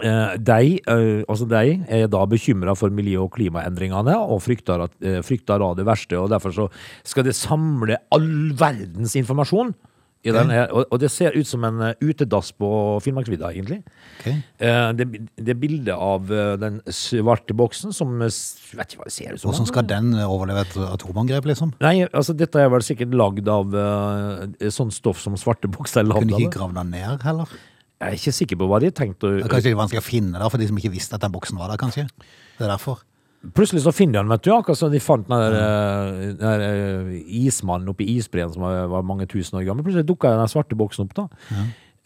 S3: eh, de, eh, altså de er da bekymra for miljø- og klimaendringene og frykter, at, eh, frykter da det verste. og Derfor så skal det samle all verdens informasjon. I den her, og, og det ser ut som en eh, utedass på Finnmarksvidda, egentlig.
S1: Ok.
S3: Eh, det, det bildet av eh, den svarte boksen som eh, s- Vet ikke hva det ser ut som.
S1: Hvordan skal den eh, overleve et atomangrep, liksom?
S3: Nei, altså dette er vel sikkert lagd av eh, sånn stoff som svarte bokser er lagd
S1: Kunne
S3: av.
S1: de ikke
S3: det.
S1: gravd den ned, heller?
S3: Jeg er ikke sikker på hva de har tenkt å
S1: Det er kanskje litt vanskelig å finne der, for de som ikke visste at den boksen var der, kanskje. Det er derfor.
S3: Plutselig så finner de den, vet du. Akkurat som de fant den der, eh, den der eh, ismannen oppe i isbreen som var var mange tusen år gammel. Plutselig dukka den svarte boksen opp, da.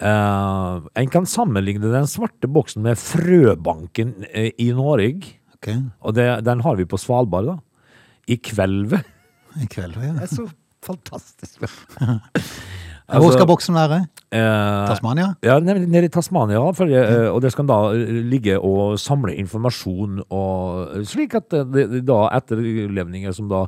S3: Eh, en kan sammenligne den svarte boksen med frøbanken eh, i Norge.
S1: Ok,
S3: Og det, den har vi på Svalbard, da. I kvelvet.
S1: i kveld, ja.
S3: er så fantastisk.
S1: Hvor skal boksen være?
S3: Altså, Eh,
S1: Tasmania?
S3: Ja, nede, nede i Tasmania, for,
S1: Mm.
S3: eh, og det skal da eh, ligge og samle informasjon, og, slik at eh, det, det da etterlevninger som da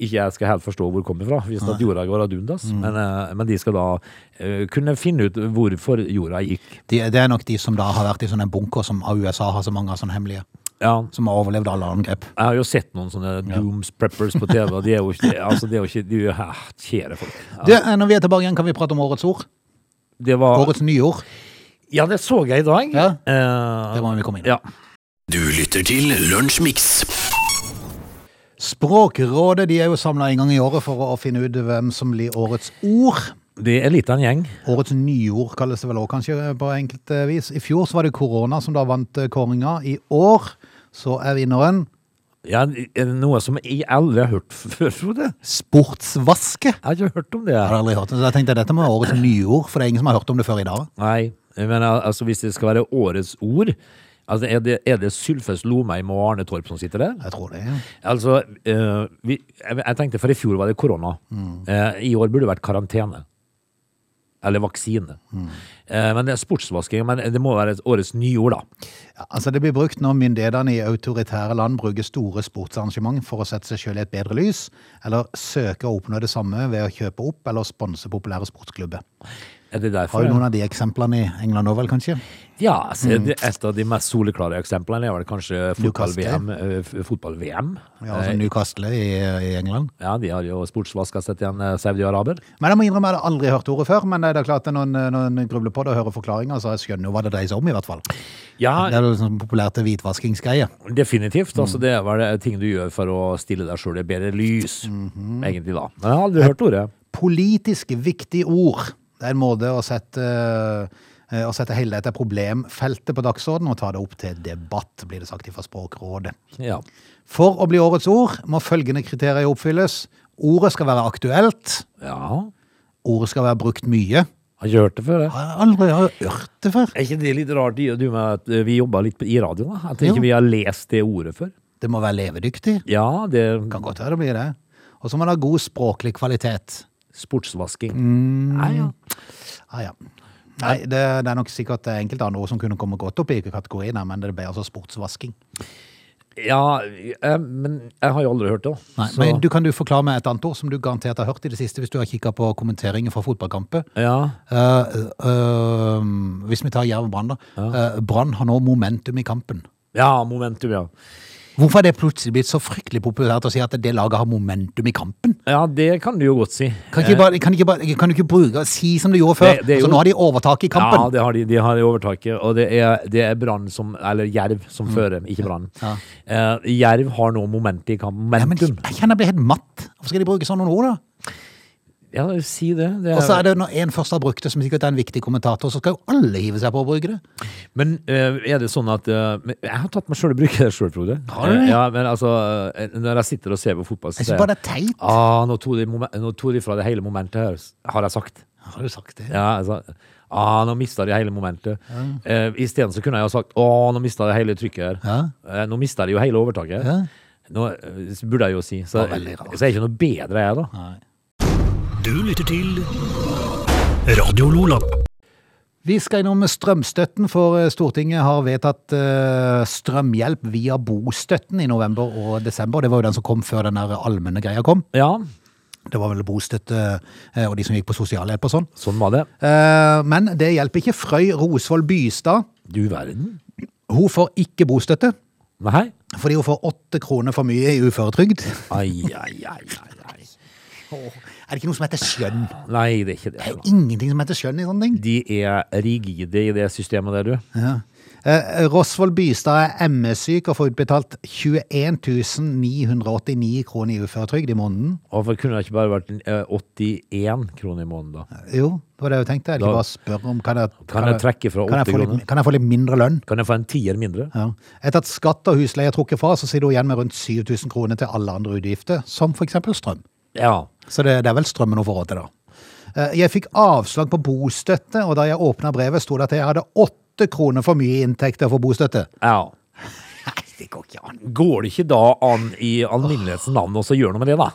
S3: ikke jeg skal helt forstå hvor kommer fra, hvis at jorda går ad undas,
S1: Mm.
S3: men, eh, men de skal da eh, kunne finne ut hvorfor jorda gikk.
S1: De, det er nok de som da har vært i sånne bunker som av USA har så mange av sånne hemmelige,
S3: Ja,
S1: som har overlevd alle angrep.
S3: jeg har jo sett noen sånne dooms preppers på TV, og de er jo ikke, altså de er jo ikke, de er jo eh, kjære folk. Ja,
S1: Du, eh, når vi er tilbake igjen, kan vi prate om årets ord?
S3: det var,
S1: Årets nyord.
S3: ja, det så jeg i dag.
S1: Ja.
S3: Eh,
S1: Det må vi komme inn på.
S3: ja.
S2: Du lytter til Lunsjmix.
S1: Språkrådet de er jo samla en gang i året for å, å finne ut hvem som blir årets ord.
S3: Det er litt av en gjeng.
S1: Årets nyord kalles det vel òg, kanskje, eh, på enkelte vis. I fjor så var det korona som da vant eh, kåringa. I år så er vinneren
S3: Ja, er det noe som jeg aldri har hørt før, Frode.
S1: sportsvaske.
S3: Jeg har ikke hørt om det.
S1: Jeg har aldri hørt det, så jeg tenkte dette må være årets nyord, for det er ingen som har hørt om det før i dag.
S3: Nei, men al- altså hvis det skal være årets ord, altså er det, er det Sylfest Lomheim og Arne Torp som sitter der?
S1: Jeg tror det. ja.
S3: Altså, eh, vi, jeg, jeg tenkte
S1: Mm.
S3: for i fjor var det korona. Eh, I år burde det vært karantene. Eller vaksine.
S1: Mm.
S3: Eh, Men det er sportsvasking, men det må være årets nyord, da.
S1: Ja, altså Det blir brukt når myndighetene i autoritære land bruker store sportsarrangement for å sette seg selv i et bedre lys, eller søker å oppnå det samme ved å kjøpe opp eller sponse populære sportsklubber.
S3: Er det derfor?
S1: Har jo noen Mm. av de eksemplene i England òg, vel, kanskje?
S3: Ja, altså, det- et av de mest soleklare eksemplene er vel kanskje fotball-VM. eh, f- Fotball-VM.
S1: Ja, altså Newcastle i, i England.
S3: Ja, de har jo sportsvaska seg til en eh, saudi-araber.
S1: Men jeg må innrømme, jeg hadde aldri hørt ordet før, men det er klart at når en- når en grubler på det og hører forklaringer, så jeg skjønner jo hva det dreier seg om, i hvert fall.
S3: Ja,
S1: Det er jo sånn populært hvitvaskingsgreie.
S3: definitivt. Altså, det er vel ting du gjør for å stille deg sjøl i bedre lys, egentlig, da. Men jeg Mm-hmm. har aldri hørt ordet.
S1: Politisk viktig ord. Det er en måte å sette, eh, å sette hele dette problemfeltet på dagsordenen og ta det opp til debatt, blir det sagt fra Språkrådet.
S3: Ja.
S1: For å bli årets ord må følgende kriterier oppfylles. Ordet skal være aktuelt.
S3: ja.
S1: Ordet skal være brukt mye.
S3: Har ikke hørt det før,
S1: Jeg
S3: jeg.
S1: har aldri hørt det før.
S3: Er ikke det litt rart, i og du med at eh, vi jobba litt i radio, da? At ikke
S1: Jo.
S3: vi har lest det ordet før?
S1: Det må være levedyktig.
S3: Ja, det er
S1: Kan godt høre det blir det. Og så må det ha god språklig kvalitet.
S3: sportsvasking. Nei, ja.
S1: Ah, ja. Nei, det, det er nok sikkert enkelte andre ord som kunne komme godt opp i kategorien, her, men det ble altså sportsvasking.
S3: ja, eh, men jeg har jo aldri hørt det. da.
S1: Nei,
S3: Så-
S1: men du kan du forklare meg et annet ord som du garantert har hørt i det siste, hvis du har kikka på kommenteringer fra fotballkamper.
S3: Ja,
S1: Eh, eh, hvis vi tar Jerv Brann, da. Eh, Brann har nå momentum i kampen.
S3: ja momentum, ja.
S1: Hvorfor er det plutselig blitt så fryktelig populært å si at det laget har momentum i kampen?
S3: Ja, det kan du jo godt si.
S1: Kan, ikke bare, kan, ikke bare, kan du ikke bruke si som du gjorde før?
S3: Eh. Det- det
S1: altså,
S3: er jo-
S1: nå har de overtak i
S3: Ja,
S1: kampen.
S3: det har de, de har overtaket, og det er, det er Brann som Eller Jerv som fører, ikke Brann.
S1: Mm. Ja.
S3: Eh, Jerv har nå momentum i kampen.
S1: Nei, men
S3: Momentum.
S1: jeg kjenner jeg blir helt matt. Hvorfor skal de bruke sånne ord, da?
S3: Ja, si det. det er,
S1: Og så er det når en først har brukt det, som sikkert er en viktig kommentator, så skal jo alle hive seg på å bruke det.
S3: Men eh, er det sånn at eh, men Jeg har tatt meg sjøl i bruk i det sjøl, Frode.
S1: Har du det?
S3: Eh, Ja, men altså, eh, når jeg sitter og ser på fotball, så
S1: Jeg synes bare det er teit.
S3: ah, nå, tok de momen- nå tok de fra det hele momentet her, har jeg sagt.
S1: Har du sagt det?
S3: Ja, altså, ah, nå mista de hele momentet. Eh, Isteden så kunne jeg jo sagt Å, nå mista de hele trykket her. Eh, nå mista de jo hele overtaket.
S1: Ja.
S3: Nå eh, så burde jeg jo si. Så,
S1: Det var veldig rart.
S3: så er jeg ikke noe bedre, jeg, da.
S2: Du lytter til Radio Lola.
S1: Vi skal innom strømstøtten, for eh, Stortinget har vedtatt eh, strømhjelp via bostøtten i november og desember. Det var jo den som kom før den der allmenne greia kom.
S3: Ja,
S1: Det var vel bostøtte eh, og de som gikk på sosialhjelp og sånn.
S3: sånn var det.
S1: Eh, Men det hjelper ikke Frøy Rosvold Bystad.
S3: Du verden.
S1: Hun får ikke bostøtte,
S3: Nei?
S1: fordi hun får åtte kroner for mye i uføretrygd.
S3: Ai, ai, ai, ai, ai.
S1: Er det ikke noe som heter skjønn?
S3: Nei, det er ikke det.
S1: Det er
S3: da.
S1: jo ingenting som heter skjønn i sånne ting.
S3: De er rigide i det systemet der, du.
S1: Ja. Eh, Rosvold Bystad er ME-syk og får utbetalt 21 989 kroner i uføretrygd i måneden.
S3: Hvorfor kunne det ikke bare vært eh, 81 kroner i måneden, da?
S1: Jo, det var det jeg tenkte. Er det
S3: Da-
S1: ikke bare å spørre om Kan jeg,
S3: Kan jeg trekke fra
S1: kan jeg
S3: 80
S1: få litt,
S3: kroner?
S1: kan jeg få litt mindre lønn?
S3: Kan jeg få en tier mindre?
S1: Ja. Etter at skatt og husleie er trukket fra, så sitter hun igjen med rundt 7000 kroner til alle andre utgifter, som for eksempel strøm.
S3: Ja.
S1: Så det, det er vel strømmen hun får råd til, da. Eh, Jeg fikk avslag på bostøtte, og da jeg åpna brevet, sto det at jeg hadde åtte kroner for mye i inntekter for bostøtte.
S3: ja.
S1: Nei, det går ikke an.
S3: Går det ikke da an i alminnelighetens navn også å gjøre noe med det, da?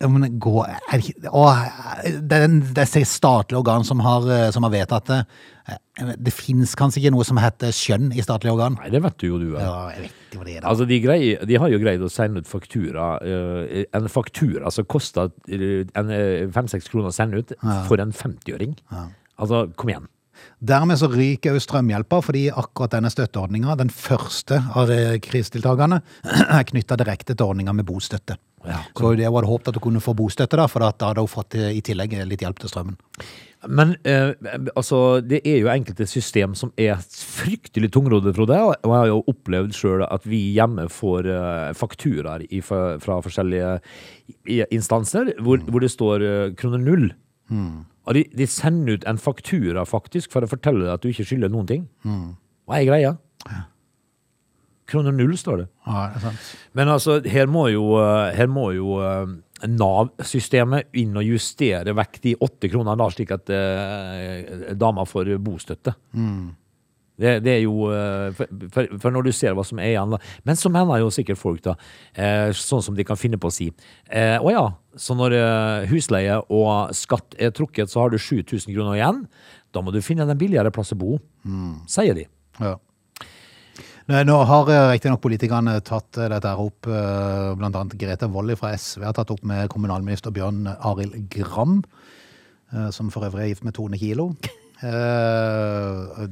S1: Ja, Men gå er det ikke- Åh, det er en- det er et statlig organ som har, eh, som har vedtatt det. Eh, Det fins kanskje ikke noe som heter skjønn i statlige organ?
S3: Nei, det vet du jo du er.
S1: Ja, jeg vet ikke hva det er, da.
S3: Altså, de, grei- de har jo greid å sende ut faktura eh, En faktura som kosta eh, fem-seks kroner å sende ut for en 50-øring. Altså, kom igjen.
S1: Dermed så ryker jo strømhjelpa, fordi akkurat denne støtteordninga, den første av eh, krisetiltakene, er knytta direkte til ordninga med bostøtte.
S3: Ja.
S1: Så det var det håpet at du kunne få bostøtte, da, for at da hadde hun fått eh, i tillegg litt hjelp til strømmen.
S3: Men eh, altså, det er jo enkelte system som er fryktelig tungrodde, Frode. Og jeg har jo opplevd sjøl at vi hjemme får eh, fakturaer i, fra, fra forskjellige i- instanser hvor, hvor det står eh, kroner null. Og de, de sender ut en faktura faktisk for å fortelle deg at du ikke skylder noen ting. Hva er greia? Kroner null, står det.
S1: Ja, det er sant.
S3: Men altså, her må jo, eh, her må jo eh, Nav-systemet inn og justere
S1: Mm.
S3: vekk de åtte kronene, da, slik at eh, dama får bostøtte. Det, det er jo eh, for, for, for når du ser hva som er igjen, da. Men så mener jo sikkert folk, da. eh, Sånn som de kan finne på å si. Eh, Å ja, så når eh, husleie og skatt er trukket, så har du 7000 kroner igjen. Da må du finne en billigere plass å bo,
S1: Mm.
S3: sier de.
S1: Ja. Nei, Nå har eh, riktignok politikerne tatt eh, dette her opp, eh, blant annet Grete Wolle fra SV har tatt opp med kommunalminister Bjørn Arild Gram, eh, som for øvrig er gift med Tone Kilo. Eh,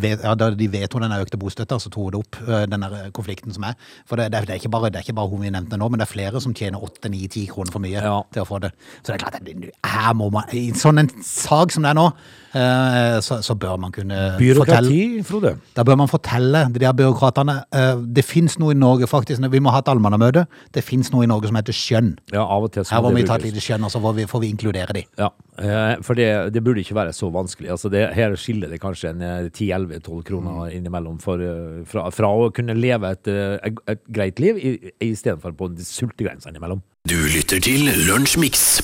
S1: vet, ja, da de vedtok den økte bostøtta, så tok det opp eh, den der konflikten som er. For det, det, er- det, er ikke bare, det er ikke bare hun vi nevnte nå, men det er flere som tjener 8-9-10 kroner for mye
S3: Ja.
S1: til å få det. Så det er klart at det- her må man, i sånn en sag som det er nå, eh, så, så bør man kunne fortelle
S3: Byråkrati, Frode.
S1: da bør man fortelle de der byråkratene eh, Det finnes noe i Norge, faktisk. Vi må ha et allmannamøte. Det finnes noe i Norge som heter skjønn.
S3: Ja, av og til så
S1: Her
S3: må
S1: må
S3: det
S1: vi ta et
S3: brukes.
S1: lite skjønn, og så får vi, får vi inkludere de.
S3: Ja, eh, for det, det burde ikke være så vanskelig. Altså det, her skiller det kanskje en eh, 10-11-12 kroner
S1: Mm.
S3: innimellom for, eh, fra, fra å kunne leve et, eh, et, et greit liv i- istedenfor på sultegrensa innimellom.
S2: Du lytter til Lunsjmix.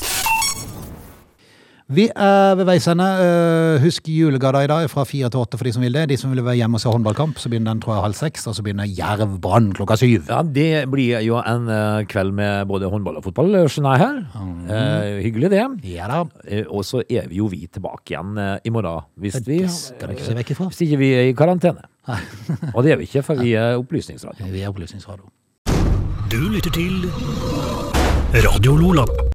S1: Vi er ved veis ende. Eh, Husk julegada i dag fra fire til åtte for de som vil det. De som vil være hjemme og se håndballkamp, så begynner den tror jeg halv seks, og så begynner Jerv Brann klokka syv.
S3: Ja, det blir jo en eh, kveld med både håndball og fotball, skjønner jeg her.
S1: Mm.
S3: Eh, hyggelig det.
S1: Ja da.
S3: Eh, og så er vi jo vi tilbake igjen eh, i morgen, hvis vi
S1: Det skal vi ikke se vekk ifra.
S3: Hvis ikke vi er i karantene. Og det er vi ikke, for vi er opplysningsradio.
S1: Vi er opplysningsradio.
S2: Du lytter til Radio Lola.